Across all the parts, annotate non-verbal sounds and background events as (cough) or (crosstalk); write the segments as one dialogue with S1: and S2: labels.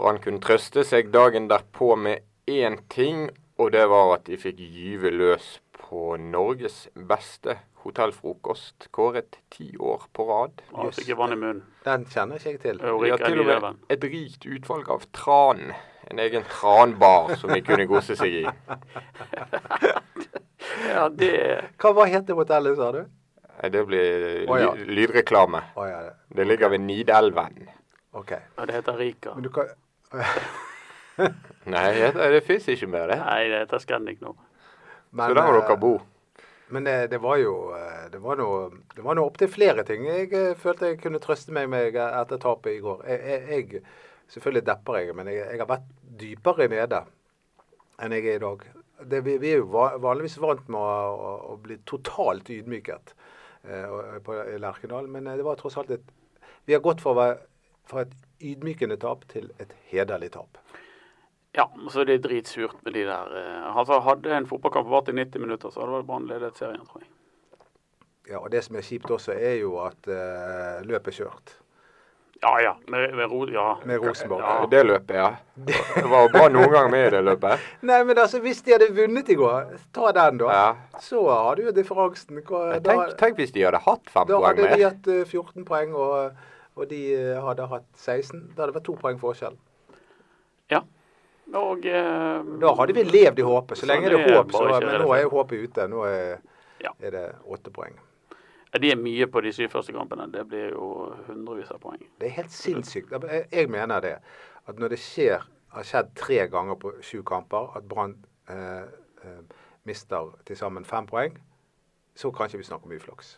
S1: og han kunne trøste seg dagen derpå med én ting, og det var at de fikk gyve løs på Norges beste hotellfrokost, kåret ti år på rad.
S2: Å, jeg fikk jeg vann i munnen.
S3: Den kjenner ikke jeg til.
S1: Vi
S2: Eurik
S1: har
S2: er
S1: til og med
S2: livrøven.
S1: et rikt utvalg av tran. En egen tranbar som vi kunne gose seg i.
S2: Ja, det
S3: Hva var het det hotellet, sa du?
S1: Nei, Det blir ly
S3: Å, ja.
S1: lydreklame.
S3: Å ja, det-
S1: Det ligger ved Nidelven.
S3: OK.
S2: ja, det heter Rika.
S3: Men du kan
S1: Nei, det, det fins ikke mer, det.
S2: Nei, det heter Scandic nå.
S3: men,
S1: Så der må
S3: eh,
S1: dere bo.
S3: Men det, det var jo eh, Det var noe, det var noe opptil flere ting jeg eh, følte jeg kunne trøste meg med etter tapet i går. Jeg, jeg, jeg Selvfølgelig depper jeg, men jeg, jeg har vært dypere nede enn jeg er i dag. Det, vi, vi er jo va- vanligvis vant med å, å, å bli totalt ydmyket eh, og- på i Lerkendal, men eh, det var tross alt et Vi har gått fra, å være- fra et ydmykende tap til et hederlig tap.
S2: Ja, så det er dritsurt med de der. eh, Altså, Hadde en fotballkamp vart i 90 minutter, så hadde vel Brann ledet serien, tror jeg.
S3: Ja, og Det som er kjipt også, er jo at eh, løpet er kjørt.
S2: Ja ja. Med, med, ro, ja.
S3: Med Rosenborg.
S2: Ja.
S1: Det løpet, ja. Det var bra noen ganger med i det løpet.
S3: Nei, men altså, hvis de hadde vunnet i går, ta den da.
S1: Ja.
S3: Så har du jo differansen. Hva-
S1: Men
S3: Da,
S1: Tenk, tenk hvis de hadde hatt fem
S3: da
S1: poeng
S3: hadde de
S1: mer.
S3: hatt eh, 14 poeng, og, og de eh, hadde hatt 16. Da hadde det vært to poeng forskjell.
S2: ja. Og eh,
S3: Da hadde vi levd i håpet. Så
S2: Så
S3: lenge
S2: det
S3: det er håp, så,
S2: bare ikke
S3: men
S2: det
S3: nå er
S2: for-
S3: håpet ute. Nå er,
S2: Ja.
S3: er det åtte poeng.
S2: De er mye på de syv første kampene. Det blir jo hundrevis av poeng.
S3: Det er helt sinnssykt. Jeg- Jeg mener det. At når det skjer, har skjedd tre ganger på sju kamper, at Brann eh, eh, mister til sammen fem poeng, så kan ikke vi snakke om uflaks.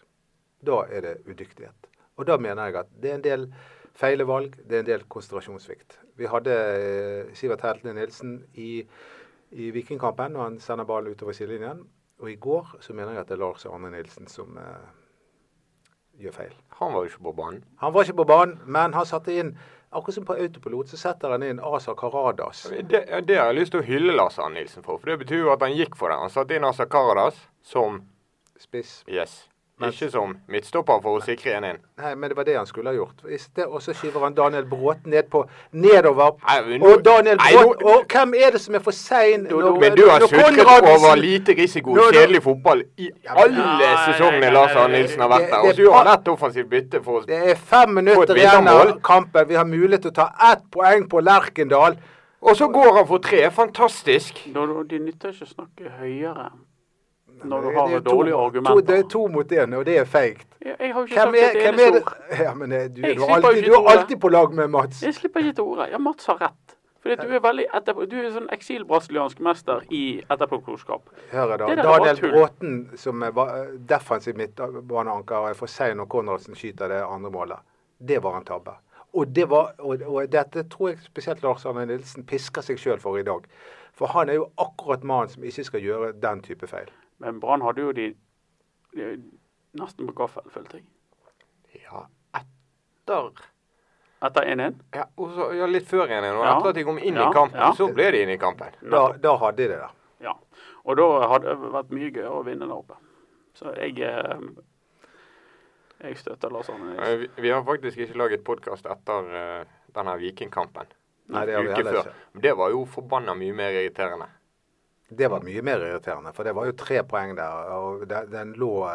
S3: Da er det udyktighet. Og da mener jeg at det er en del feile valg, det er en del konsentrasjonssvikt. Vi hadde eh, Sivert Heltene Nilsen i, i Vikingkampen, og han sender ballen utover sidelinjen. Og i går så mener jeg at det er Lars Arne Nilsen som eh, gjør feil.
S1: Han var jo ikke på banen.
S3: Han var ikke på banen, men han satte inn Akkurat som på autopilot, så setter han inn Asa Karadas.
S1: Det, ja, det har jeg lyst til å hylle Lars Arne Nilsen for, for det betyr jo at han gikk for det. Han satte inn Asa Karadas som
S3: Spiss.
S1: yes.
S3: Men-
S1: Ikke som midtstopper for å sikre en inn.
S3: Nei, men det var det han skulle ha gjort. I sted- Og så skyver han Daniel Bråten ned på nedover.
S1: Nei, men nå-
S3: Og Daniel
S1: Nei,
S3: Bråten
S1: nå-
S3: Og hvem er det som er for sein? når-
S1: Men du har
S3: når
S1: suttet
S3: Konradsen-
S1: over lite risiko,
S3: Nå- nå-
S1: kjedelig fotball i alle
S2: Nei, nei,
S1: sesongene
S2: nei,
S1: Lars
S2: nei,
S1: Arne Nilsen har vært
S3: det-
S1: der.
S3: det
S1: Og så gjør
S3: er
S1: han
S3: bra-
S1: ett offensivt bytte for oss.
S3: Det er fem minutter igjen
S1: vinnermål.
S3: av kampen. Vi har mulighet til å ta ett poeng på Lerkendal.
S1: Og så går han for tre. Fantastisk.
S2: Da, da, de nytter ikke å snakke høyere når
S3: Det
S2: du
S3: er
S2: har
S3: jo to-
S2: dårlige
S3: to- Det
S2: argumenter.
S3: er to mot én, og det er feigt.
S2: Jeg, jeg har jo ikke
S3: Hvem
S2: sagt
S3: er,
S2: et
S3: hvem er
S2: eneste
S3: det
S2: ord.
S3: (laughs) ja, men eh, du,
S2: Jeg
S3: du,
S2: slipper
S3: er
S2: jo
S3: alltid,
S2: ikke
S3: du er
S2: ordet.
S3: alltid på lag med Mats.
S2: Jeg slipper ikke til ordet. Ja, Mats har rett. Fordi at du er veldig etterpå... Du er sånn eksil-brasiliansk mester i etterpåklokskap.
S3: Hør da.
S2: Det der er bare
S3: Daniel
S2: tull.
S3: Bråten, som er va- defensiv midtbaneanker, er for sein når Konradsen skyter det andre målet. Det var en tabbe. Og, det var, og, og dette tror jeg spesielt Lars Arne Nilsen pisker seg sjøl for i dag. For han er jo akkurat mannen som ikke skal gjøre den type feil.
S2: Men Brann hadde jo de, de nesten på gaffelen, følte jeg.
S1: Ja, etter
S2: Etter 1-1.
S1: ja, og så, ja, Litt før igjen. Og
S2: Ja.
S1: etter at de kom inn
S2: Ja,
S1: i kampen,
S2: ja.
S1: så ble de inne i kampen.
S3: Da, da hadde de det der.
S2: Ja. Og da hadde det vært mye gøyere å vinne der oppe. Så jeg eh, Jeg støtter Lars Arne
S1: Eh,
S2: Nilsen.
S1: Vi, vi har faktisk ikke laget podkast etter eh, denne Vikingkampen.
S3: Nei, det har vi
S1: Uke
S3: heller
S1: før.
S3: ikke.
S1: Men Det var jo forbanna mye mer irriterende.
S3: Det var mye mer irriterende, for det var jo tre poeng der. Og den, den lå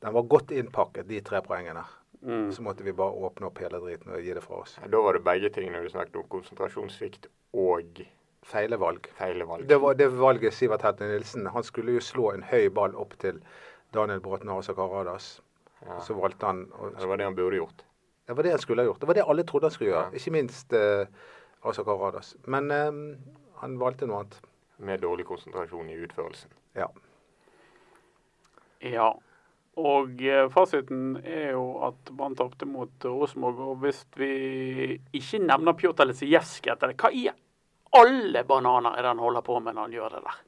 S3: Den var godt innpakket, de tre poengene.
S2: Mm.
S3: Så måtte vi bare åpne opp hele driten og gi det fra oss.
S1: Ja, Da var det begge tingene du snakket om. Konsentrasjonssvikt og
S3: Feile valg.
S1: feile valg.
S3: Det var det valget Sivert Hette Nilsen. Han skulle jo slå en høy ball opp til Daniel Bråten og Asa Karadas.
S1: Ja.
S3: Så valgte han å
S1: Det var det han burde gjort.
S3: Det var det han skulle ha gjort. Det var det alle trodde han skulle gjøre. Ikke minst eh, Asa Karadas. Men eh, han valgte noe annet.
S1: Med dårlig konsentrasjon i utførelsen.
S3: Ja.
S2: Ja. Og eh, fasiten er jo at Brann tapte mot Rosenborg. Og hvis vi ikke nevner Pjotr Lisijevskij etter det, hva i alle bananer er det han holder på med når han gjør det der?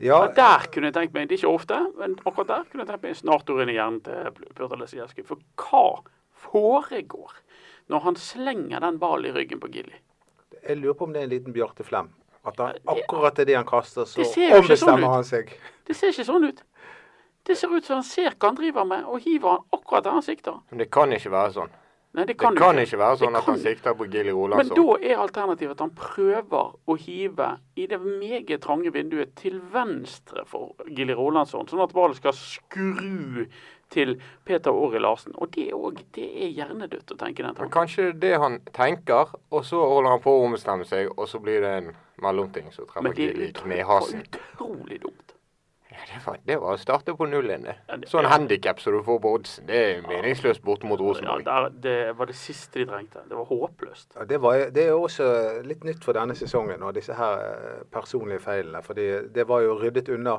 S3: ja
S2: Men der kunne jeg tenkt meg, det er ikke ofte, men akkurat der kunne jeg tenkt meg en snartur inn i hjernen til Pjotr Lisijevskij. For hva foregår når han slenger den ballen i ryggen på Gilly?
S3: jeg lurer på om det er en liten Bjarte Flem. At han akkurat til det han kaster, så
S2: Det ser jo ikke sånn
S3: ombestemmer
S2: ut.
S3: han seg.
S2: Det ser ikke sånn ut. Det ser ut som han ser hva han driver med, og hiver han akkurat der han sikter.
S1: Men det kan ikke være sånn.
S2: Nei, det
S1: Det
S2: kan, jo
S1: kan ikke være
S2: Det
S1: sånn at han
S2: kan-
S1: sikter på Gilly
S2: Men da
S1: Rolandsson.
S2: er alternativet at han prøver å hive i det meget trange vinduet til venstre for Gilly Rolandsson, sånn at ballen skal skru til Peter Åri Larsen. Og det, er også, det er hjernedødt å tenke den
S1: Men
S2: tanken.
S1: kanskje det er han tenker, og så holder han på å ombestemme seg, og så blir det en mellomting som
S2: Men
S1: treffer
S2: det er
S1: Gilly i
S2: utrolig,
S1: knehasen.
S2: utrolig dumt.
S1: Ja, det, var, det var å starte på null igjen,
S2: Ja,
S1: det.
S2: det-
S1: Sånn
S2: ja.
S1: handikap som du får på oddsen, det er meningsløst borte mot
S2: Ja,
S1: Rosenborg.
S2: der, det var det siste de trengte. Det var håpløst.
S3: Ja, Det, var, det er jo også litt nytt for denne sesongen og disse her eh, personlige feilene. fordi det var jo ryddet unna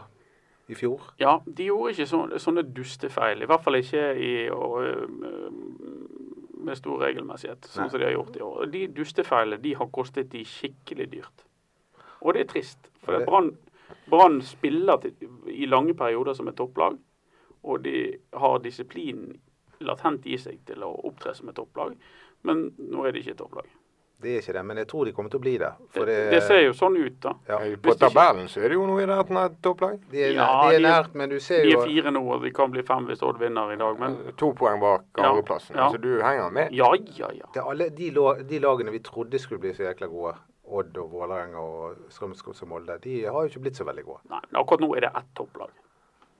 S3: i fjor.
S2: Ja, de gjorde ikke sånne, sånne dustefeil. I hvert fall ikke i, og, øhm, med stor regelmessighet, sånn
S3: Nei.
S2: som de har gjort i år. Og De dustefeilene de har kostet de skikkelig dyrt. Og det er trist. For
S3: Det-
S2: det- Brann Brann spiller til, i lange perioder som et topplag, og de har disiplin latent i seg til å opptre som et topplag. Men nå er de ikke et topplag.
S3: Det er ikke det, men jeg tror de kommer til å bli det.
S2: Det,
S3: For
S2: det,
S3: det,
S2: ser jo sånn ut, da.
S3: ja,
S1: På
S2: Hvis det ikke-
S1: tabellen så er det jo noe i nærheten av et topplag.
S3: de, er,
S2: Ja,
S3: de er
S2: de er-
S3: nært, men du ser
S2: De
S3: jo
S2: er fire nå, og de kan bli fem hvis Odd vinner i dag, men
S1: To poeng bak
S2: Ja,
S1: andreplassen.
S2: ja.
S1: Så du henger med.
S2: ja, ja, ja.
S3: det er alle, de, lo- de lagene vi trodde skulle bli så jækla gode, Odd og Vålerenga og Strømsgods og Molde, de har jo ikke blitt så veldig gode.
S2: Nei, men akkurat nå er det ett topplag.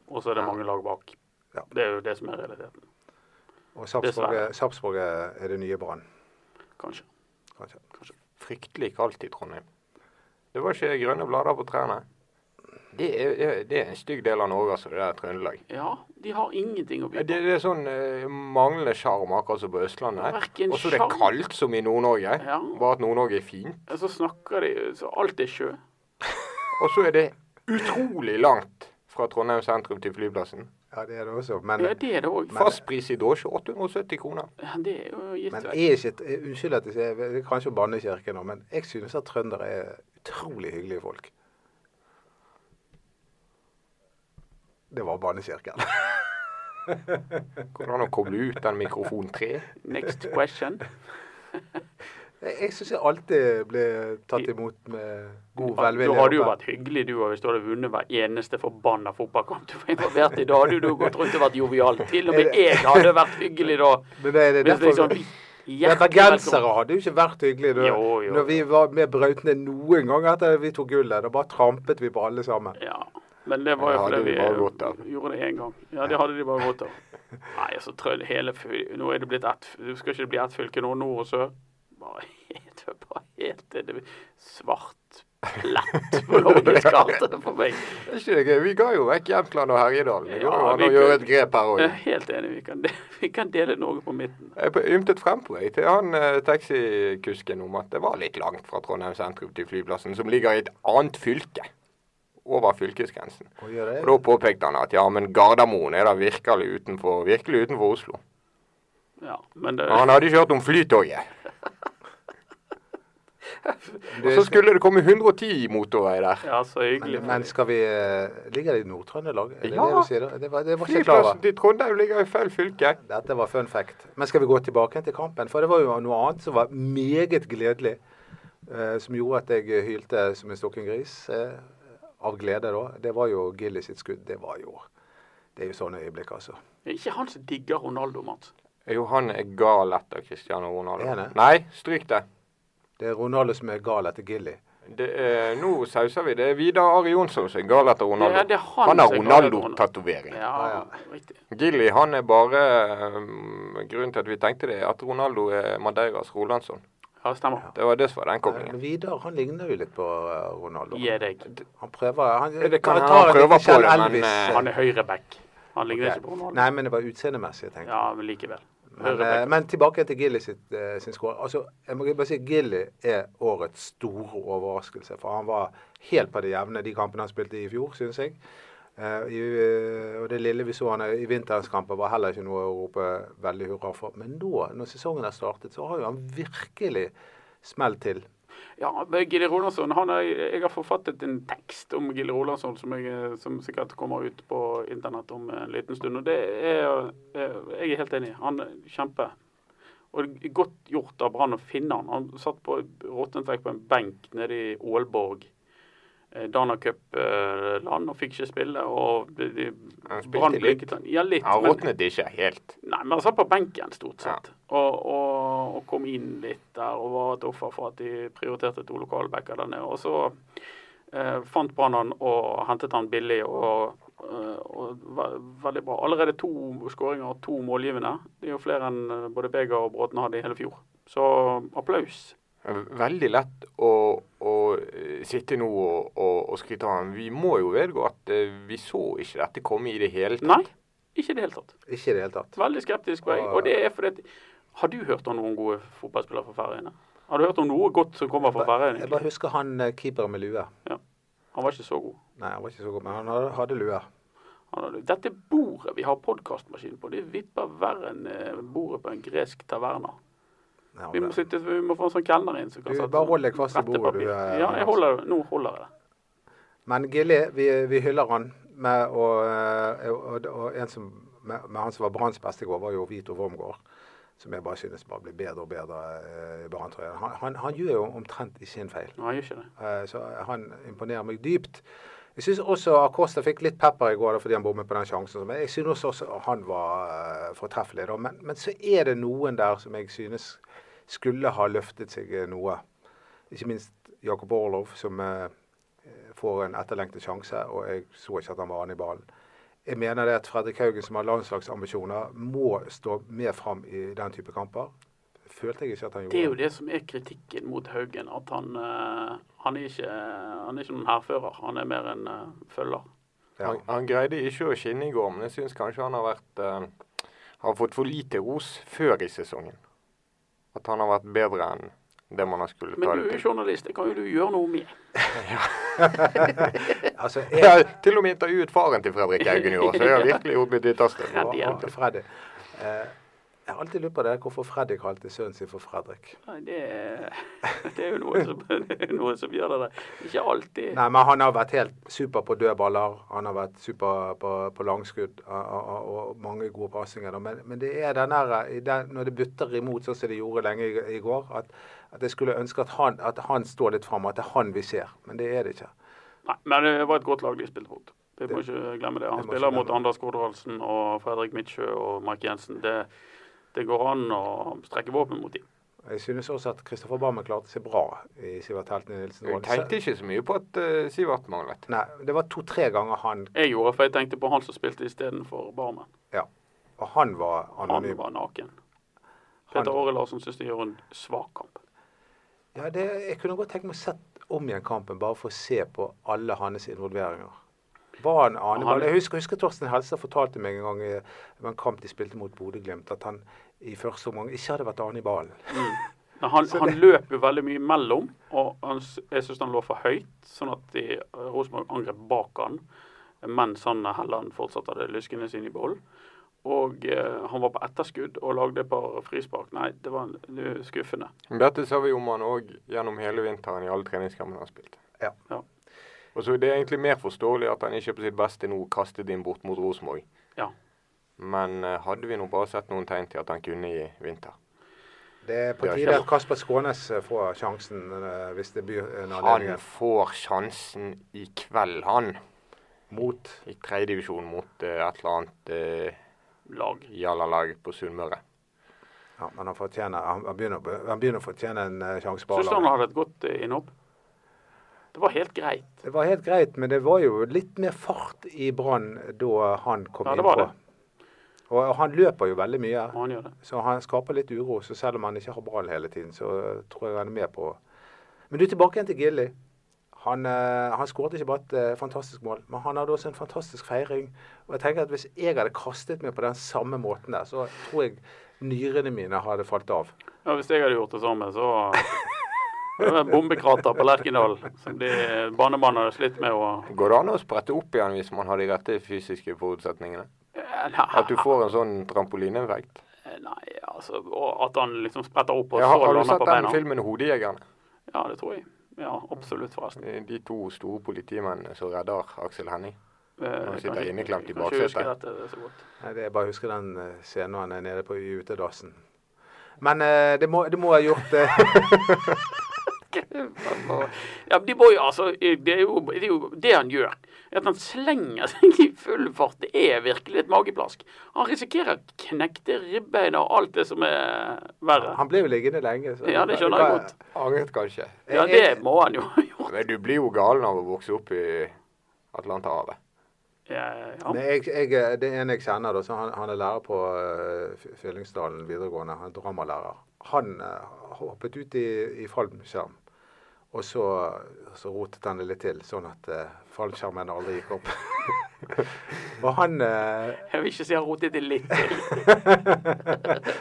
S2: Og så er det mange lag bak.
S3: Ja.
S2: Det er jo det som er realiteten,
S3: Og Sarpsborg
S2: Dessverre.
S3: Sarpsborg er det nye Brann,
S2: kanskje.
S3: kanskje.
S1: Fryktelig kaldt i Trondheim. Det var ikke grønne blader på trærne. Det er, det er- det er en stygg del av Norge, altså, det der Trøndelag.
S2: Ja, de har ingenting å by
S1: Ja, Det,
S2: på.
S1: det er sånn eh, manglende sjarm, akkurat som på Østlandet.
S2: Hverken
S1: Og så er det
S2: sjarm-
S1: kaldt som i Nord-Norge,
S2: Ja.
S1: bare at Nord-Norge er fint.
S2: Og Så snakker de så Alt er sjø.
S1: Og så er det utrolig langt fra Trondheim sentrum til flyplassen.
S3: Ja, det er det også. Men,
S2: Ja, det er det òg.
S1: Fastpris i drosje 870 kroner.
S2: Det er jo gitt
S3: men
S2: vekk.
S3: jeg er ikke, et- eh, unnskyld at jeg sier det er kanskje å banne i kirken nå, men jeg synes at trøndere er utrolig hyggelige folk. Det var bannekirken.
S1: Går det an å koble ut den mikrofon 3?
S2: Next
S3: (laughs)
S2: question.
S3: Jeg, jeg syns jeg alltid ble tatt imot med god
S2: Ja,
S3: velvilje.
S2: Da hadde jo
S3: oppe.
S2: vært hyggelig du hvis du hadde vunnet hver eneste forbanna fotballkamp du var involvert i. Da hadde jo du gått rundt og vært jovial. Til og med jeg hadde vært hyggelig da.
S3: Men det, er det,
S2: Hvis
S3: derfor,
S2: liksom
S3: men
S2: hjertelig velkommen.
S3: bergensere hadde jo ikke vært hyggelige. da.
S2: Jo, jo,
S3: Når vi var med Brautne noen gang etter vi tok gullet, da bare trampet vi på alle sammen.
S2: Ja, men
S1: Men
S2: det var
S1: det
S2: jo fordi
S1: hadde
S2: vi
S1: de bare godt av.
S2: gjorde det én gang. Ja, det hadde de bare godt av. Nei, altså trøll hele fy- Nå er det blitt ett f- Skal ikke det bli ett fylke nå, nord og sør? Bare helt, bare helt det er svart
S1: (laughs)
S2: plett på norgeskartet for meg.
S1: Er ikke det gøy? Vi ga jo vekk Jämtland og Herjedalen. Det går jo
S2: Ja,
S1: an
S2: vi
S1: å
S2: kan-
S1: gjøre et grep her
S2: Jeg
S1: òg. (laughs)
S2: er helt enig. Vi kan, de- vi kan dele Norge på midten.
S1: Jeg p- ymtet frempå jeg, til han eh, taxikusken om at det var litt langt fra Trondheim sentrum til flyplassen, som ligger i et annet fylke. Over fylkesgrensen.
S3: Og gjør
S1: Og
S3: det.
S1: Da påpekte han at ja, men Gardermoen er da virkelig utenfor, virkelig utenfor Oslo.
S2: Ja, men det,
S1: Og han hadde ikke hørt om Flytoget. Og så skulle det komme 110 motorvei der.
S2: ja, så hyggelig.
S3: Men, men skal vi eh, Ligger det i Nord-Trøndelag? Er det
S1: Ja.
S3: det du sier? da? Det var, det var ikke jeg klar over.
S1: Flyplassen til Trondheim ligger i feil fylke.
S3: Dette var fun fact. Men skal vi gå tilbake til kampen? For det var jo noe annet som var meget gledelig, eh, som gjorde at jeg hylte som en stokken gris. Eh, av glede, da. Det var jo Gilly sitt skudd. Det var jo Det er jo sånne øyeblikk, altså.
S2: Det er ikke han som digger Ronaldo, Mats.
S1: Jo, han er gal etter Cristiano Ronaldo.
S3: Er han det?
S1: Nei, stryk det.
S3: Det er Ronaldo som er gal etter Gilly.
S1: det er, nå sauser vi. Det er Vidar Ari Jonsson som er gal etter Ronaldo.
S2: Ja, det er han
S1: han har
S2: som er gal etter
S1: Ronaldo-tatovering.
S2: Ja, riktig.
S1: Gilly han er bare um, Grunnen til at vi tenkte det, er at Ronaldo er Madeiras Rolandsson.
S2: Ja, stemmer.
S1: Det var det som var den
S3: Men
S1: koblingen.
S3: Eh, Vidar han ligner jo litt på eh, Ronaldo.
S2: Gi deg.
S3: Han prøver Han,
S1: Det kan
S3: han
S1: hende han
S3: tar en
S1: prøver
S3: liten
S1: på
S3: Kjell
S1: det, men,
S3: Elvis,
S1: eh,
S3: eh,
S2: Han er høyreback. Han ligner ikke på
S3: ok.
S2: Ronaldo.
S3: Nei, men det var utseendemessig, jeg tenkte
S2: Ja, men likevel.
S3: Men, eh,
S2: Høyreback.
S3: men tilbake til Gilly sitt, eh, sin score. Altså, jeg må bare si Gilly er årets store overraskelse. For han var helt på det jevne de kampene han spilte i i fjor, syns jeg. Eh, i, eh, og det lille vi så han i vinterens kamper, var heller ikke noe å rope veldig hurra for. Men nå, når sesongen har startet, så har jo han virkelig smelt til.
S2: Ja, men Gilly Rolandsson, han er, jeg har forfattet en tekst om Gilly Rolandsson som, jeg, eh, som sikkert kommer ut på internett om en liten stund. Og det er eh, Jeg er helt enig. Han er kjempe. Og det er godt gjort av Brann å finne han. Han satt på råttent vekk på en benk nede i Ålborg eh, Dana Cup-land og fikk ikke spille. og de, de,
S1: Han spilte
S2: Brann
S1: litt.
S2: bleket han- Ja, litt.
S1: Han
S2: men-
S1: råtnet ikke helt.
S2: Nei, men han satt på benken stort sett. Og, og, og kom inn litt der og var et offer for at de prioriterte to lokalbacker der nede. Og så eh, fant Brann han og hentet han billig og, eh, og var veldig bra. Allerede to skåringer og to målgivende. Det er jo flere enn eh, både Beger og Bråten hadde i hele fjor. Så applaus.
S1: Veldig lett å, å eh, sitte nå og, og, og skryte av ham. Vi må jo vedgå at eh, vi så ikke dette komme i det hele tatt.
S2: Nei, ikke i det hele tatt.
S3: Ikke i det hele tatt.
S2: Veldig skeptisk var jeg.
S3: Og-
S2: Og det er fordi at Har du hørt om noen gode fotballspillere fra Færøyene? Har du hørt om noe godt som kommer fra Færøyene?
S3: Jeg bare husker han eh, keeperen med lue.
S2: Han var ikke så god.
S3: Nei, han var ikke så god, men han hadde, hadde lue.
S2: Han hadde- Dette bordet vi har podkastmaskin på, det vipper verre enn eh, bordet på en gresk taverna.
S3: Nei, han
S2: Vi må,
S3: ble-
S2: sitte, vi må få en sånn kelner inn. Som kan
S3: Du,
S2: sette
S3: bare
S2: sånn
S3: hold deg fast i bordet,
S2: rettepapir.
S3: du, eh,
S2: Ja, jeg holder, nå holder jeg det.
S3: Men Gilli, vi, vi hyller han. Med, og, eh, og, og en som, med, med han som var Branns beste i går, var jo Vito Wormgård. Som jeg bare synes bare blir bedre og bedre eh, i Brann-trøya. Han, han, han gjør jo omtrent ikke en feil.
S2: Nei, jeg gjør ikke det.
S3: Eh, Så han imponerer meg dypt. Jeg syns også Acosta fikk litt pepper i går da, fordi han bommet på den sjansen. Men jeg synes også han var eh, fortreffelig. Da. Men, men så er det noen der som jeg synes skulle ha løftet seg eh, noe. Ikke minst Jakob Orlov, som eh, får en etterlengtet sjanse. Og jeg så ikke at han var an i ballen. Jeg mener det at Fredrik Haugen, som har landslagsambisjoner, må stå mer fram i den type kamper. Følte jeg ikke at han gjorde.
S2: Det er jo det som er kritikken mot Haugen. At han, eh, han, er, ikke, han er ikke noen hærfører. Han er mer en eh, følger.
S3: Ja.
S1: Han, han greide ikke å skinne i går, men jeg syns kanskje han har vært eh, har fått for lite ros før i sesongen. At han har vært bedre enn det man har skulle
S2: Men
S1: ta
S2: du er
S1: det
S2: jo
S1: til.
S2: journalist, det kan jo du gjøre noe med.
S3: Altså, jeg,
S1: Jeg har til og med intervjuet faren til Fredrik Haugen i år, så jeg
S2: (laughs)
S1: har virkelig gjort mitt ytterste.
S2: Ja,
S3: Og-
S2: det er
S3: og
S2: det.
S3: Freddy. Eh, jeg har alltid lurt på det, hvorfor Freddy kalte sønnen sin for Fredrik.
S2: Nei, det, er- (laughs) det er jo noe som, (laughs) det er noe som gjør det der. Ikke alltid.
S3: Nei, men han har vært helt super på dødballer, han har vært super på, på langskudd og, og, og mange gode pasninger. da. Men, men det er den der, i den- når det butter imot sånn som det gjorde lenge i, i går, at, at jeg skulle ønske at han, at han står litt fram, at det er han vi ser. Men det er det ikke.
S2: Nei, men det var et godt lag de spilte mot. Vi må ikke glemme det. Han
S3: det må
S2: spiller
S3: ikke
S2: mot
S3: glemme.
S2: Anders Kordralsen og Fredrik Midtsjø og Mark Jensen. Det, det går an å strekke våpen mot dem.
S3: Jeg synes også at Kristoffer Barmen klarte seg bra i Sivert Helten Nilsen.
S1: Jeg tenkte ikke så mye på at eh, Sivert manglet.
S3: Nei, det var to-tre ganger han
S2: Jeg gjorde for jeg tenkte på han som spilte istedenfor Barmen.
S3: Ja. Og han var
S2: Han
S3: anonym.
S2: var naken. Peter Åre Larsen syns de gjorde en svak kamp.
S3: Ja, det, jeg kunne godt tenke meg å sette om igjen kampen, bare for å se på alle hans involveringer. Var han aner
S2: Han-
S3: bare- Jeg husker, husker Torsten Helstad fortalte meg en gang i det var en kamp de spilte mot Bodø-Glimt, at han i første omgang ikke hadde vært ane i ballen.
S2: Men han, han løp jo veldig mye mellom, og han, s- jeg syns han lå for høyt, sånn at de, eh, Rosenborg angrep bak han, mens han eh, Helland fortsatt hadde lyskene sine i behold. Og eh, han var på etterskudd og lagde et par frispark. Nei, det var en- det er skuffende.
S1: Dette sa vi om han òg gjennom hele vinteren i alle treningskampene han spilte.
S3: Ja.
S2: Ja.
S1: Og så er det egentlig mer forståelig at han ikke på sitt beste nå kastet inn bort mot Rosenborg.
S2: ja.
S1: Men eh, hadde vi nå bare sett noen tegn til at han kunne i vinter?
S3: Det er på
S1: Ja,
S3: tide
S1: kjempe.
S3: at Kasper Skånes eh, får sjansen eh, hvis det blir en
S1: Han
S3: anledning
S1: får sjansen i kveld, han.
S3: mot
S1: I tredje divisjon mot eh, et eller annet eh,
S2: Lag.
S1: jallalag på Sunnmøre.
S3: ja, Men han, fortjener, han, han, begynner, å- han begynner å fortjene en eh, sjanse på
S2: Syns du han
S3: A-laget.
S2: hadde et godt eh, innhopp? Det var helt greit.
S3: Det var helt greit, men det var jo litt mer fart i Brann da han kom
S2: Ja, det var
S3: innpå. Og han løper jo veldig mye.
S2: Og han gjør det.
S3: Så han skaper litt uro. Så selv om han ikke har ballen hele tiden, så tror jeg han er med på Men du, tilbake igjen til Gilly. Han, eh, han skåret ikke bare et eh, fantastisk mål, men han hadde også en fantastisk feiring. Og jeg tenker at Hvis jeg hadde kastet meg på den samme måten der, så tror jeg nyrene mine hadde falt av.
S2: Ja, hvis jeg hadde gjort det samme, så (laughs) Det var en bombekrater på Lerkendal som de banemannen hadde slitt med å
S1: Går det an å sprette opp igjen hvis man har de rette fysiske forutsetningene?
S2: Eh,
S1: At du får en sånn trampolineinfekt?
S2: Nei, altså og At han liksom spretter opp og
S1: Ja,
S2: så
S1: har, har du
S2: lander
S1: sett
S2: på
S1: den
S2: beina.
S1: filmen 'Hodejegerne'?
S2: Ja, det tror jeg. Ja, absolutt, forresten.
S1: Eh, De to store politimennene som redder Aksel Henning.
S2: Eh,
S1: Han sitter
S2: kanskje-
S1: inneklemt i
S2: kanskje Eh, jeg husker
S1: baksetet.
S2: dette så godt. (laughs)
S3: Nei, det er bare å huske den eh, scenen når han er nede på
S2: (laughs)
S3: i utedassen. Men eh, det, må, det må ha gjort eh,
S2: ja, de boy, altså, det, er jo, det er jo det han gjør. At han slenger seg i full fart. Det er virkelig et mageplask. Han risikerer knekte ribbein og alt det som er verre.
S3: Han ble jo liggende lenge. så-
S2: Ja, det skjønner jeg godt.
S1: Angret kanskje.
S2: Ja, det må han jo ha gjort.
S1: Men du blir jo galen av å vokse opp i Atlanterhavet.
S2: Ja, ja.
S3: Men jeg, jeg, det er en jeg kjenner, da, så han, han er lærer på eh, F- Fyllingsdalen videregående. Han er dramalærer. Han eh, hoppet ut i, i fallskjerm, og så, så rotet han det litt til, sånn at eh, fallskjermen aldri gikk opp. (laughs) og han eh, (laughs)
S2: Jeg vil ikke si han rotet
S1: (laughs)
S2: det litt til.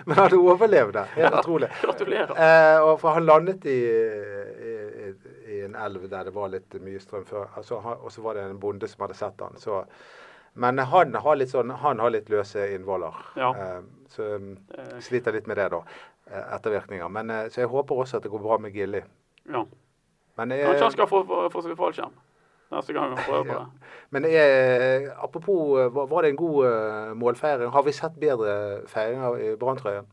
S3: Men han overlevde. Helt utrolig.
S2: Gratulerer.
S3: Eh, og for han landet i, i, i- i en elv der det var litt mye strøm før. Altså, han, og så var det en bonde som hadde sett han. Så, men han har litt, sånn, han har litt løse innvoller.
S2: Ja.
S3: Eh, så um,
S2: Eh.
S3: sliter litt med det, da. eh, Ettervirkninger. Men, eh, så jeg håper også at det går bra med Gilli.
S2: Ja.
S3: Men, eh,
S2: Kanskje han skal få, få, få seg fallskjerm neste gang han prøver på
S3: (laughs) Ja.
S2: det.
S3: men eh, apropos, eh, var, var det en god eh, målfeiring? Har vi sett bedre feiringer i Branntrøyen?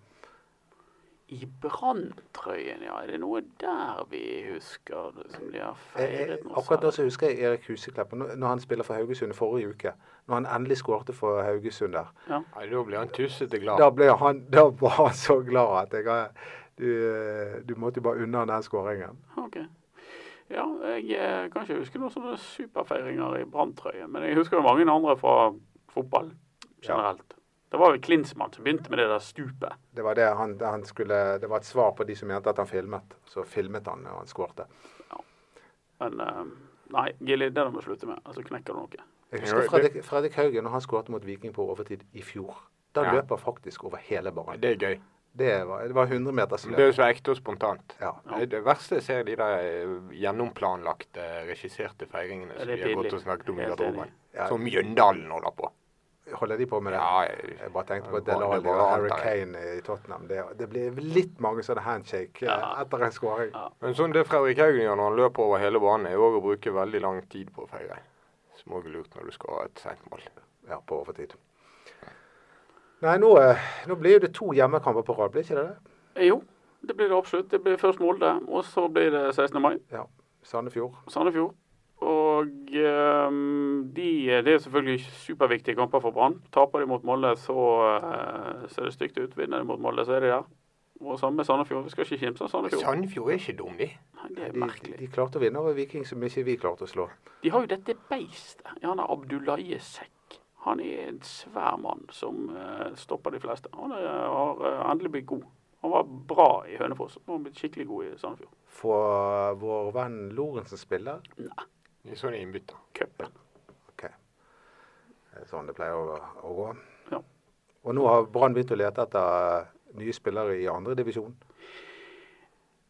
S2: I branntrøyen, ja. Er det noe der vi husker det, som de har
S3: Eh, eh,
S2: feiret noe
S3: Akkurat nå
S2: særlig?
S3: så husker jeg Erik Huseklepp når når han spiller for Haugesund i forrige uke. Når han endelig skårte for Haugesund der.
S1: Nei, da blir han tussete glad.
S3: Da, ble han, da var han så glad at jeg har- du, eh, du måtte jo bare unna den skåringen.
S2: Ok. Ja, jeg eh, kan ikke huske noen sånne superfeiringer i branntrøye, men jeg husker jo mange andre fra fotball generelt. Det var jo Klinsmann som begynte med det der stupet.
S3: Det var, det, han, han skulle, det var et svar på de som mente at han filmet. Så filmet han når han skårte.
S2: Men eh, nei, Gilly, det der må du slutte med. Altså knekker du noe.
S3: Jeg
S1: Ja,
S3: husker
S1: det-
S3: Fredrik, Fredrik Haugen når han skårte mot Viking på overtid i fjor. Da
S1: Ja.
S3: løp han faktisk over hele banen.
S1: Det er gøy.
S3: Det var, det var 100 meters
S1: Men Det er
S3: løp.
S1: jo så ekte og spontant.
S3: Ja.
S2: Ja.
S1: Det verste jeg ser de der eh, gjennomplanlagte, regisserte feiringene
S2: Ja,
S1: som
S2: det er
S1: vi har
S2: pinlig.
S1: gått og snakket om i
S2: Helt
S1: garderoben.
S3: enig.
S1: Som Mjøndalen holder på.
S3: Holder de på med det?
S1: Ja, jeg,
S3: Jeg bare tenkte på
S1: det var-
S3: Delali
S1: det var
S3: og Harry
S1: antar jeg.
S3: Kane i Tottenham. Det, det ble litt mange sånne handshake eh,
S2: Ja.
S3: etter en skåring.
S2: Ja.
S1: Men sånn det Fredrik Haugen gjør når han løper over hele banen, er jo også å bruke veldig lang tid på å feire. Som òg er lurt når du skal ha et sent mål.
S3: Ja, på overtid. Nei, nå, eh, nå blir jo det to hjemmekamper på rad, blir ikke det det?
S2: Eh, Jo, det blir det absolutt. Det blir først Molde, og så blir det 16. mai.
S3: Ja. Sandefjord.
S2: Sandefjord. Og ehm, de, det er selvfølgelig superviktige kamper for Brann. Taper de mot Molde, så eh, ser det stygt ut. Vinner de mot Molde, så er de der. Og samme med Sandefjord. Vi skal ikke kimse av Sandefjord.
S1: Sandefjord er ikke dum, de.
S2: Nei, det er
S3: De, de,
S2: merkelig.
S3: de klarte å vinne over Viking som ikke vi klarte å slå.
S2: De har jo dette beistet. Ja, Han er Abdullaye Sekk. Han er en svær mann som eh, stopper de fleste. Han er, har eh, endelig blitt god. Han var bra i Hønefoss. Nå har han blitt skikkelig god i Sandefjord.
S3: For eh, vår venn Lorentzen spiller
S2: Nei,
S1: De er sånne innbytter.
S2: cupen.
S3: OK. Det er Sånn det pleier å, å gå.
S2: Ja.
S3: Og nå har Brann begynt å lete etter eh, nye spillere i andredivisjon.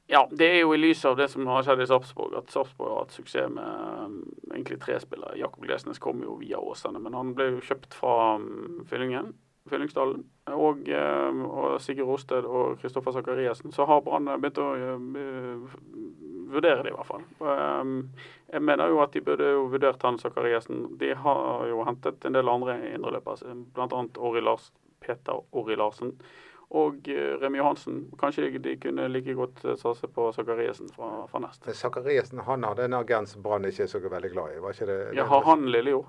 S2: Ja, det er jo i lys av det som har skjedd i Sarpsborg, at Sarpsborg har hatt suksess med um, egentlig tre spillere. Jakob Glesnes kom jo via Åsane, men han ble jo kjøpt fra um, Fyllingen, Fyllingsdalen. Og, um, og Sigurd Rosted og Kristoffer Sakariassen. Så har Brann begynt å uh, vurdere det, i hvert fall. Um, jeg mener jo at de burde jo vurdert han Sakariassen. De har jo hentet en del andre indreløpere, bl.a. Ori Lars, Peter Ori Larsen. Og eh, Remi Johansen. Kanskje de kunne like godt eh, satse på Sakariassen fra, fra Nest.
S3: Men Sakariassen han hadde en agent som Brann ikke er så veldig glad i. Var ikke det,
S2: Ja, har han lille jo.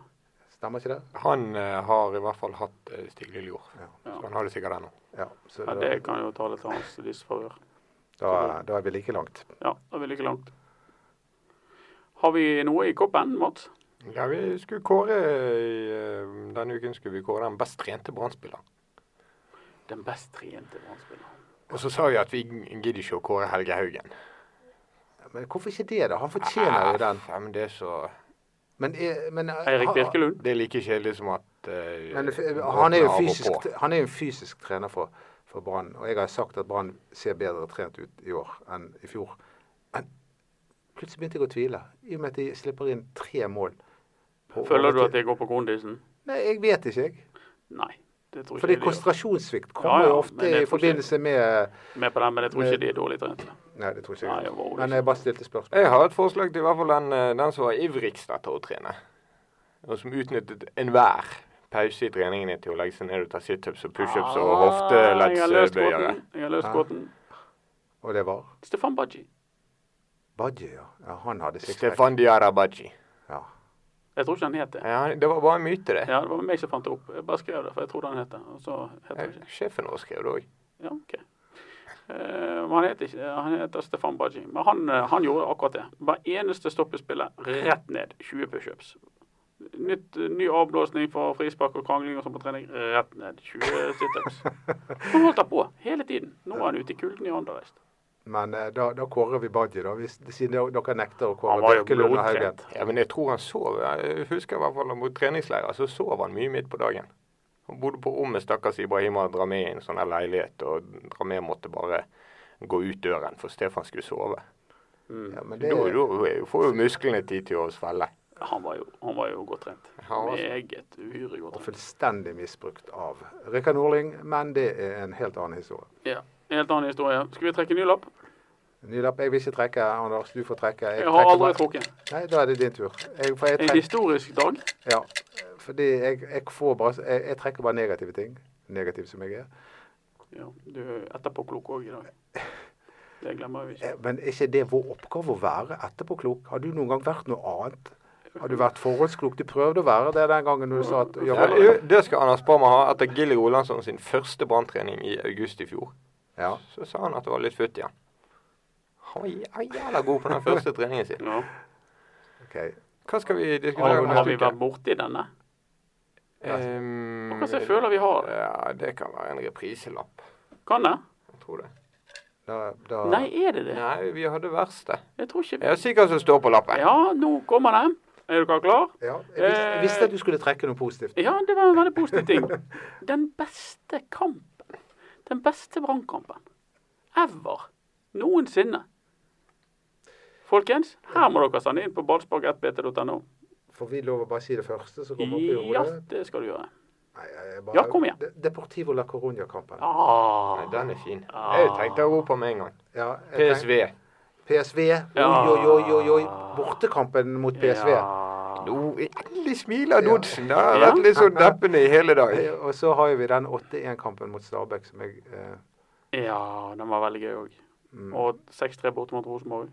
S3: Stemmer ikke det?
S1: Han eh, har i hvert fall hatt eh, Stigliljord.
S3: Ja.
S1: Så han har det sikkert ennå.
S3: Ja, så
S2: Ja,
S3: da,
S2: det kan jo tale til hans disfavør.
S3: da, da er vi like langt.
S2: Ja, da er vi like langt. Har vi noe i koppen, Mats?
S1: Ja, vi skulle kåre i, eh, Denne uken skulle vi kåre den best trente brannspilleren.
S2: Den best trente brannspilleren.
S1: Og så sa vi at vi gidder ikke å kåre Helge Haugen.
S3: Men hvorfor ikke det, da? Han fortjener jo den.
S1: Ja, men det er så
S3: Men, er- men, eh,
S2: Ah. Eirik
S3: ha-
S2: Birkelund.
S1: Det er like kjedelig som at eh,
S3: Men f-
S1: Bråten
S3: han er jo
S1: av og
S3: fysisk,
S1: på.
S3: han er jo en fysisk trener for, for Brann. Og jeg har sagt at Brann ser bedre trent ut i år enn i fjor. Men plutselig begynte jeg å tvile, i og med at de slipper inn tre mål. på
S2: Føler du at
S3: overtid.
S2: jeg går på kondisen?
S3: Nei, jeg vet ikke, jeg.
S2: Nei, det tror ikke
S3: Fordi
S2: jeg de gjør.
S3: konsentrasjonssvikt kommer
S2: Ja, ja,
S3: jo
S2: men
S3: ofte
S2: jeg
S3: i
S2: tror ikke-
S3: forbindelse med
S2: Med på den, men jeg tror ikke de er dårlig trente.
S3: Nei, det tror ikke
S2: Nei,
S3: jeg.
S2: jeg var liksom-
S3: Men jeg bare stilte spørsmål.
S1: Jeg har et forslag til i hvert fall den, eh, den som var ivrigst etter å trene. Og som utnyttet enhver pause i treningene til å legge seg ned og ta situps og pushups og eh,
S2: Ah, Jeg har løst
S3: Ah.
S1: hofteleddsbøyere.
S2: gåten. Jeg har løst
S3: Ja.
S2: gåten.
S3: Og det var
S2: Stefan Baji.
S3: Badje, ja. ja. Han hadde sixpack.
S1: Stefan Diarabaji.
S3: Ja.
S2: Jeg tror ikke han het det.
S1: Ja, han- det var bare en myte, det.
S2: Ja, det var meg som fant det opp. Jeg bare skrev det, for jeg trodde han het det. Og så heter han
S1: Eh,
S2: ikke
S1: Sjefen vår skrev det òg.
S2: Ja, OK. Eh, men han heter ikke det. Han heter Stefan Baji. Men han, eh, han gjorde akkurat det. Hver eneste stopp i spillet, rett ned. 20 pushups. Nytt, eh, ny avblåsning for frispark og krangling og sånn på trening. Rett ned. 20
S3: (laughs)
S2: situps. Han holdt da på hele tiden. Nå er han ute i kulden i Anderlecht.
S3: Men eh, da, da kårer vi Badje, da. Hvis, siden dere- dere nekter å
S2: Han
S3: kåre
S2: var jo
S3: Birkelund og Haugen.
S2: blodtrent.
S1: Ja, men jeg tror han sov. Jeg husker i hvert fall mot treningsleirer så sov han mye midt på dagen. Han bodde på rommet stakkars Ibrahima Dramé i en sånn her leilighet, og Dramé måtte bare gå ut døren for Stefan skulle sove.
S2: Mm.
S3: Ja, men
S1: Da
S3: det,
S1: da får jo musklene tid til å svelle.
S2: Han, var jo, han var jo godt trent.
S1: Han var så-
S2: Meget uhyre godt
S3: og
S2: trent.
S3: fullstendig misbrukt av Rikard Norling, men det er en helt annen historie.
S2: Ja. En helt annen historie. Skal vi trekke ny lapp?
S3: Ny lapp. Jeg vil ikke trekke, Anders. Du får trekke.
S2: Jeg har
S3: trekker
S2: aldri
S3: bare-
S2: trukket.
S3: Nei, da er det din tur. Jeg, for jeg
S2: En
S3: trekker,
S2: historisk dag.
S3: ja, fordi jeg, jeg får bare jeg, jeg trekker bare negative ting. Negativ som jeg er.
S2: Ja, du er etterpåklok òg i dag. Det glemmer vi ikke.
S3: Eh, Men er ikke det vår oppgave å være etterpåklok? Har du noen gang vært noe annet? Har du vært forholdsklok? Du prøvde å være det den gangen du sa at
S1: Ja,
S3: ja, vel.
S1: jo, det skal Anders Barmer ha. Etter Gilly Rolandsson sin første branntrening i august i fjor,
S3: ja.
S1: så sa han at det var litt futt igjen. Han var jæ- jævla god på den første treningen sin.
S2: Ja.
S3: ok.
S1: Hva skal vi diskutere
S2: Har, har
S1: neste
S2: vi
S1: uke?
S2: vært borti denne?
S1: Ehm,
S2: Akkurat som jeg føler vi har det.
S1: Ja, det kan være en repriselapp.
S2: Kan det?
S1: Jeg tror det.
S3: Da, da,
S2: Nei, er det det?
S1: Nei, vi hadde verste.
S2: Jeg tror ikke vi
S1: Jeg er sikker som står på lappen.
S2: Ja, nå kommer den. Er dere klar?
S3: Ja, jeg, visste,
S2: Eh.
S3: jeg visste at du skulle trekke noe positivt.
S2: Ja, det var en veldig positiv
S3: (laughs)
S2: ting. Den beste kampen. Den beste brannkampen. Ever. Noensinne. Folkens, her må dere sende inn på ballspark1bt.no.
S3: Får vi lov å bare si det første som kommer opp i
S2: Ja,
S3: hodet?
S2: det skal du gjøre.
S3: Nei, jeg bare,
S2: Ja, kom igjen.
S3: De- Deportivo la Coruña-kampen.
S2: Ah.
S1: Nei, den er fin.
S2: Ah.
S1: Jeg tenkte Europa med en gang.
S3: Ja, jeg tenk-
S1: PSV.
S3: PSV. Oi,
S2: Ja.
S3: oi, oi, oi, oi. Bortekampen mot PSV.
S2: Ja.
S1: Nå endelig smiler
S3: Ja.
S1: Dodsen. Det har
S2: Ja.
S1: vært litt sånn deppende i hele dag.
S3: Eh, Og så har jo vi den 8-1-kampen mot Stabæk som jeg eh,
S2: Ja, den var veldig gøy òg.
S3: mm.
S2: Og 6-3 borte mot Rosenborg.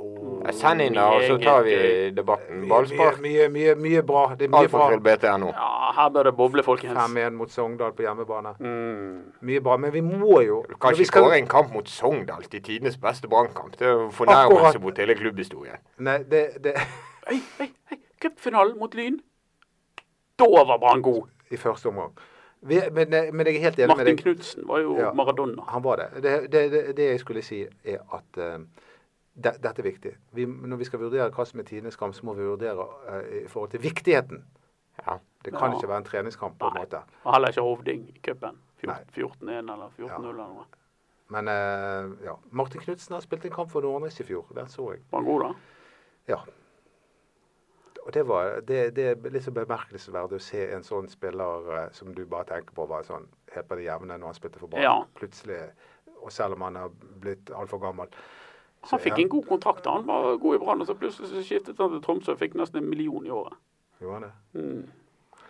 S3: Åh.
S1: Ja, Send inn, da, og så tar vi debatten.
S3: Mye, mye,
S1: Ballspark.
S3: mye, mye, mye bra. Det er mye bra.
S1: Alfakrøll BTNO.
S2: Ja, her bør det boble, folkens.
S3: 5-1 mot Sogndal på hjemmebane.
S2: Mm.
S3: Mye bra. Men vi må jo
S1: Du kan
S3: når vi
S1: ikke
S3: skal-
S1: skåre en kamp mot Sogndal til tidenes beste brannkamp. Det er jo en fornærmelse
S3: Akkurat.
S1: mot hele klubbhistorien.
S3: Nei, det, (laughs) det
S2: Hei, hei, hei! Cupfinalen mot Lyn. Da var Brann god.
S3: I første omgang. Vi, men, eh, men jeg er helt enig med
S2: Martin
S3: deg.
S2: Knutsen var jo
S3: Ja.
S2: Maradona.
S3: Han var det. Det, det, det, det jeg skulle si, er at eh, de, dette er viktig. Vi, når vi skal vurdere hva som er tidenes kamp, så må vi vurdere eh, i forhold til viktigheten.
S1: Ja.
S3: Det kan
S2: Ja.
S3: ikke være en treningskamp, på en
S2: Nei.
S3: måte.
S2: Og heller ikke Hovding i cupen.
S3: Nei.
S2: 14-1 eller 14-0 eller noe.
S3: Men eh, ja. Martin Knutsen har spilt en kamp for Nordnes i fjor. Den så jeg.
S2: Var han god, da?
S3: Ja. Og det, var, det, det er litt så bemerkelsesverdig å se en sånn spiller eh, som du bare tenker på var sånn helt på det jevne når han spilte for Brann.
S2: Ja.
S3: Plutselig, og selv om han har blitt altfor gammel. Så
S2: Han fikk
S3: ja.
S2: en god kontrakt. da. Han var god i Brann, og så plutselig så skiftet han til Tromsø og fikk nesten en million i året.
S3: Gjorde han det?
S2: Mm.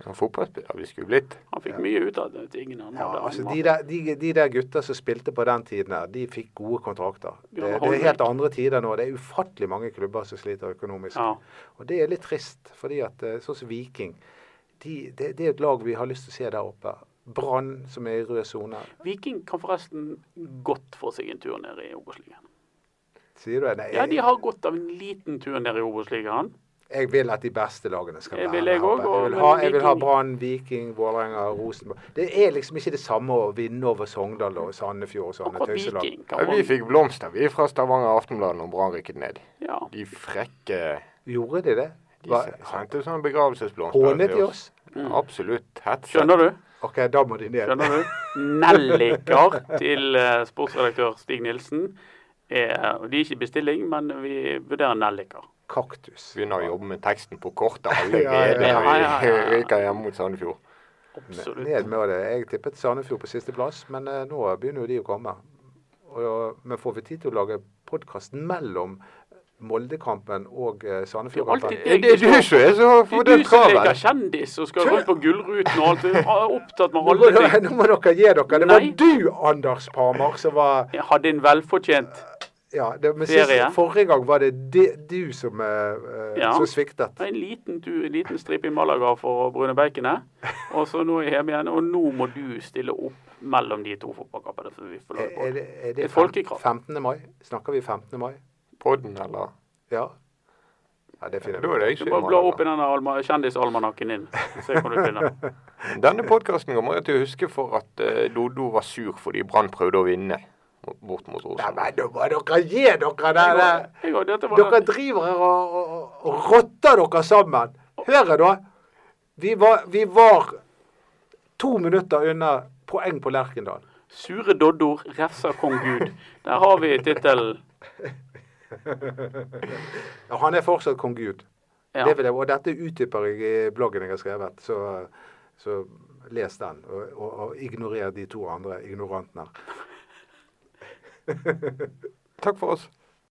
S1: En fotballspiller vi skulle blitt.
S2: Han fikk mye ut av de tingene han
S3: Ja,
S2: hadde.
S3: altså
S2: Han
S3: de der, de, de der gutta som spilte på den tiden her, de fikk gode kontrakter. Det,
S2: Ja,
S3: det er
S2: Holmvik.
S3: helt andre tider nå. Det er ufattelig mange klubber som sliter økonomisk.
S2: Ja.
S3: Og det er litt trist, fordi at eh, sånn som Viking, de, det, det er et lag vi har lyst til å se der oppe. Brann, som er i rød sone.
S2: Viking kan forresten godt få seg en tur ned i Obos-ligaen.
S3: Sier du det? Nei,
S2: Ja, de
S3: jeg,
S2: har godt av en liten tur ned i Obos-ligaen.
S3: jeg vil at de beste lagene skal
S2: Jeg
S3: være
S2: vil
S3: der
S2: jeg
S3: oppe.
S2: også, og-
S3: Jeg vil
S2: men
S3: ha, jeg vil ha
S2: Viking-
S3: Brann, Viking, Vålerenga, Rosenborg. Det er liksom ikke det samme å vinne over Sogndal og Sandefjord og sånne
S2: Akkurat
S3: tøyselag.
S2: Viking
S1: Ja,
S2: kan
S1: vi
S2: man
S1: fikk blomster, vi, fra Stavanger Aftenblad når Brann rykket ned.
S2: ja.
S1: De frekke
S3: Gjorde de det?
S1: De
S3: Hva,
S1: sendte sånne begravelsesblomster.
S3: hånet de oss?
S1: Absolutt. Hetset.
S2: Skjønner du?
S3: OK, da må de ned.
S2: Skjønner du? Nelliker til eh, sportsredaktør Stig Nilsen. Eh, og De er ikke i bestilling, men vi vurderer nelliker.
S3: Kaktus.
S1: Begynner å jobbe med teksten på kortet
S3: (laughs) Ja, ja,
S1: allerede
S2: ja.
S1: når vi
S2: Ja, ja,
S1: (laughs)
S2: ja.
S1: ryker hjemme mot Sandefjord.
S2: Absolutt.
S3: Ned med det. Jeg tippet Sandefjord på sisteplass, men eh, nå begynner jo de å komme. Og, men får vi tid til å lage podkast mellom Moldekampen og eh, Sandefjordkampen?
S2: Det
S1: Er det du som er så
S2: Det er
S1: fordømt
S2: du som leker
S1: travel?
S2: kjendis og skal rundt på Gullruten og alt. Du er opptatt med
S3: (laughs) Nå må,
S2: alle
S3: dere,
S2: ting.
S3: nå må dere gi dere. Det var
S2: Nei.
S3: du, Anders Parmar, som var
S2: Jeg hadde en velfortjent
S3: Ja, det, men
S2: Ferie.
S3: sist, forrige gang var det de, du som, eh, eh,
S2: Ja.
S3: som sviktet.
S2: Det er En liten, tur, en liten stripe i Malaga for Brune Beikene. Og så nå er jeg hjemme igjen. Og nå må du stille opp mellom de to fotballkampene. som vi får
S3: Er,
S2: lov
S3: er
S2: på.
S3: det, er
S2: Det er
S3: det fem,
S2: folkekrav.
S3: 15. mai? Snakker vi 15. mai?
S1: Podden, eller?
S3: Ja. ja det
S1: Da
S3: finner
S1: er
S3: vi.
S1: det
S2: Du
S1: ikke
S2: må bla opp
S1: Malaga.
S2: i denne alma- kjendisalmanakken din. Se hva du finner.
S1: Denne podkasten kommer jeg til å huske for at eh, Dodo var sur fordi Brann prøvde å vinne bort mot
S3: Nei,
S1: Rosenborg.
S3: men da må dere gi dere det der.
S2: Jeg og- dette var-
S3: Dere driver her og, og, og- og rotter dere sammen. Hør her, da. Vi var, vi var to minutter unna poeng på Lerkendal.
S2: Sure doddor refser kong Gud. Der har vi tittelen.
S3: Ja, han er fortsatt kong Gud.
S2: Ja.
S3: Det vil jeg, og dette utdyper jeg i bloggen jeg har skrevet, så, så les den. Og, og, og ignorer de to andre ignorantene.
S1: Takk for oss.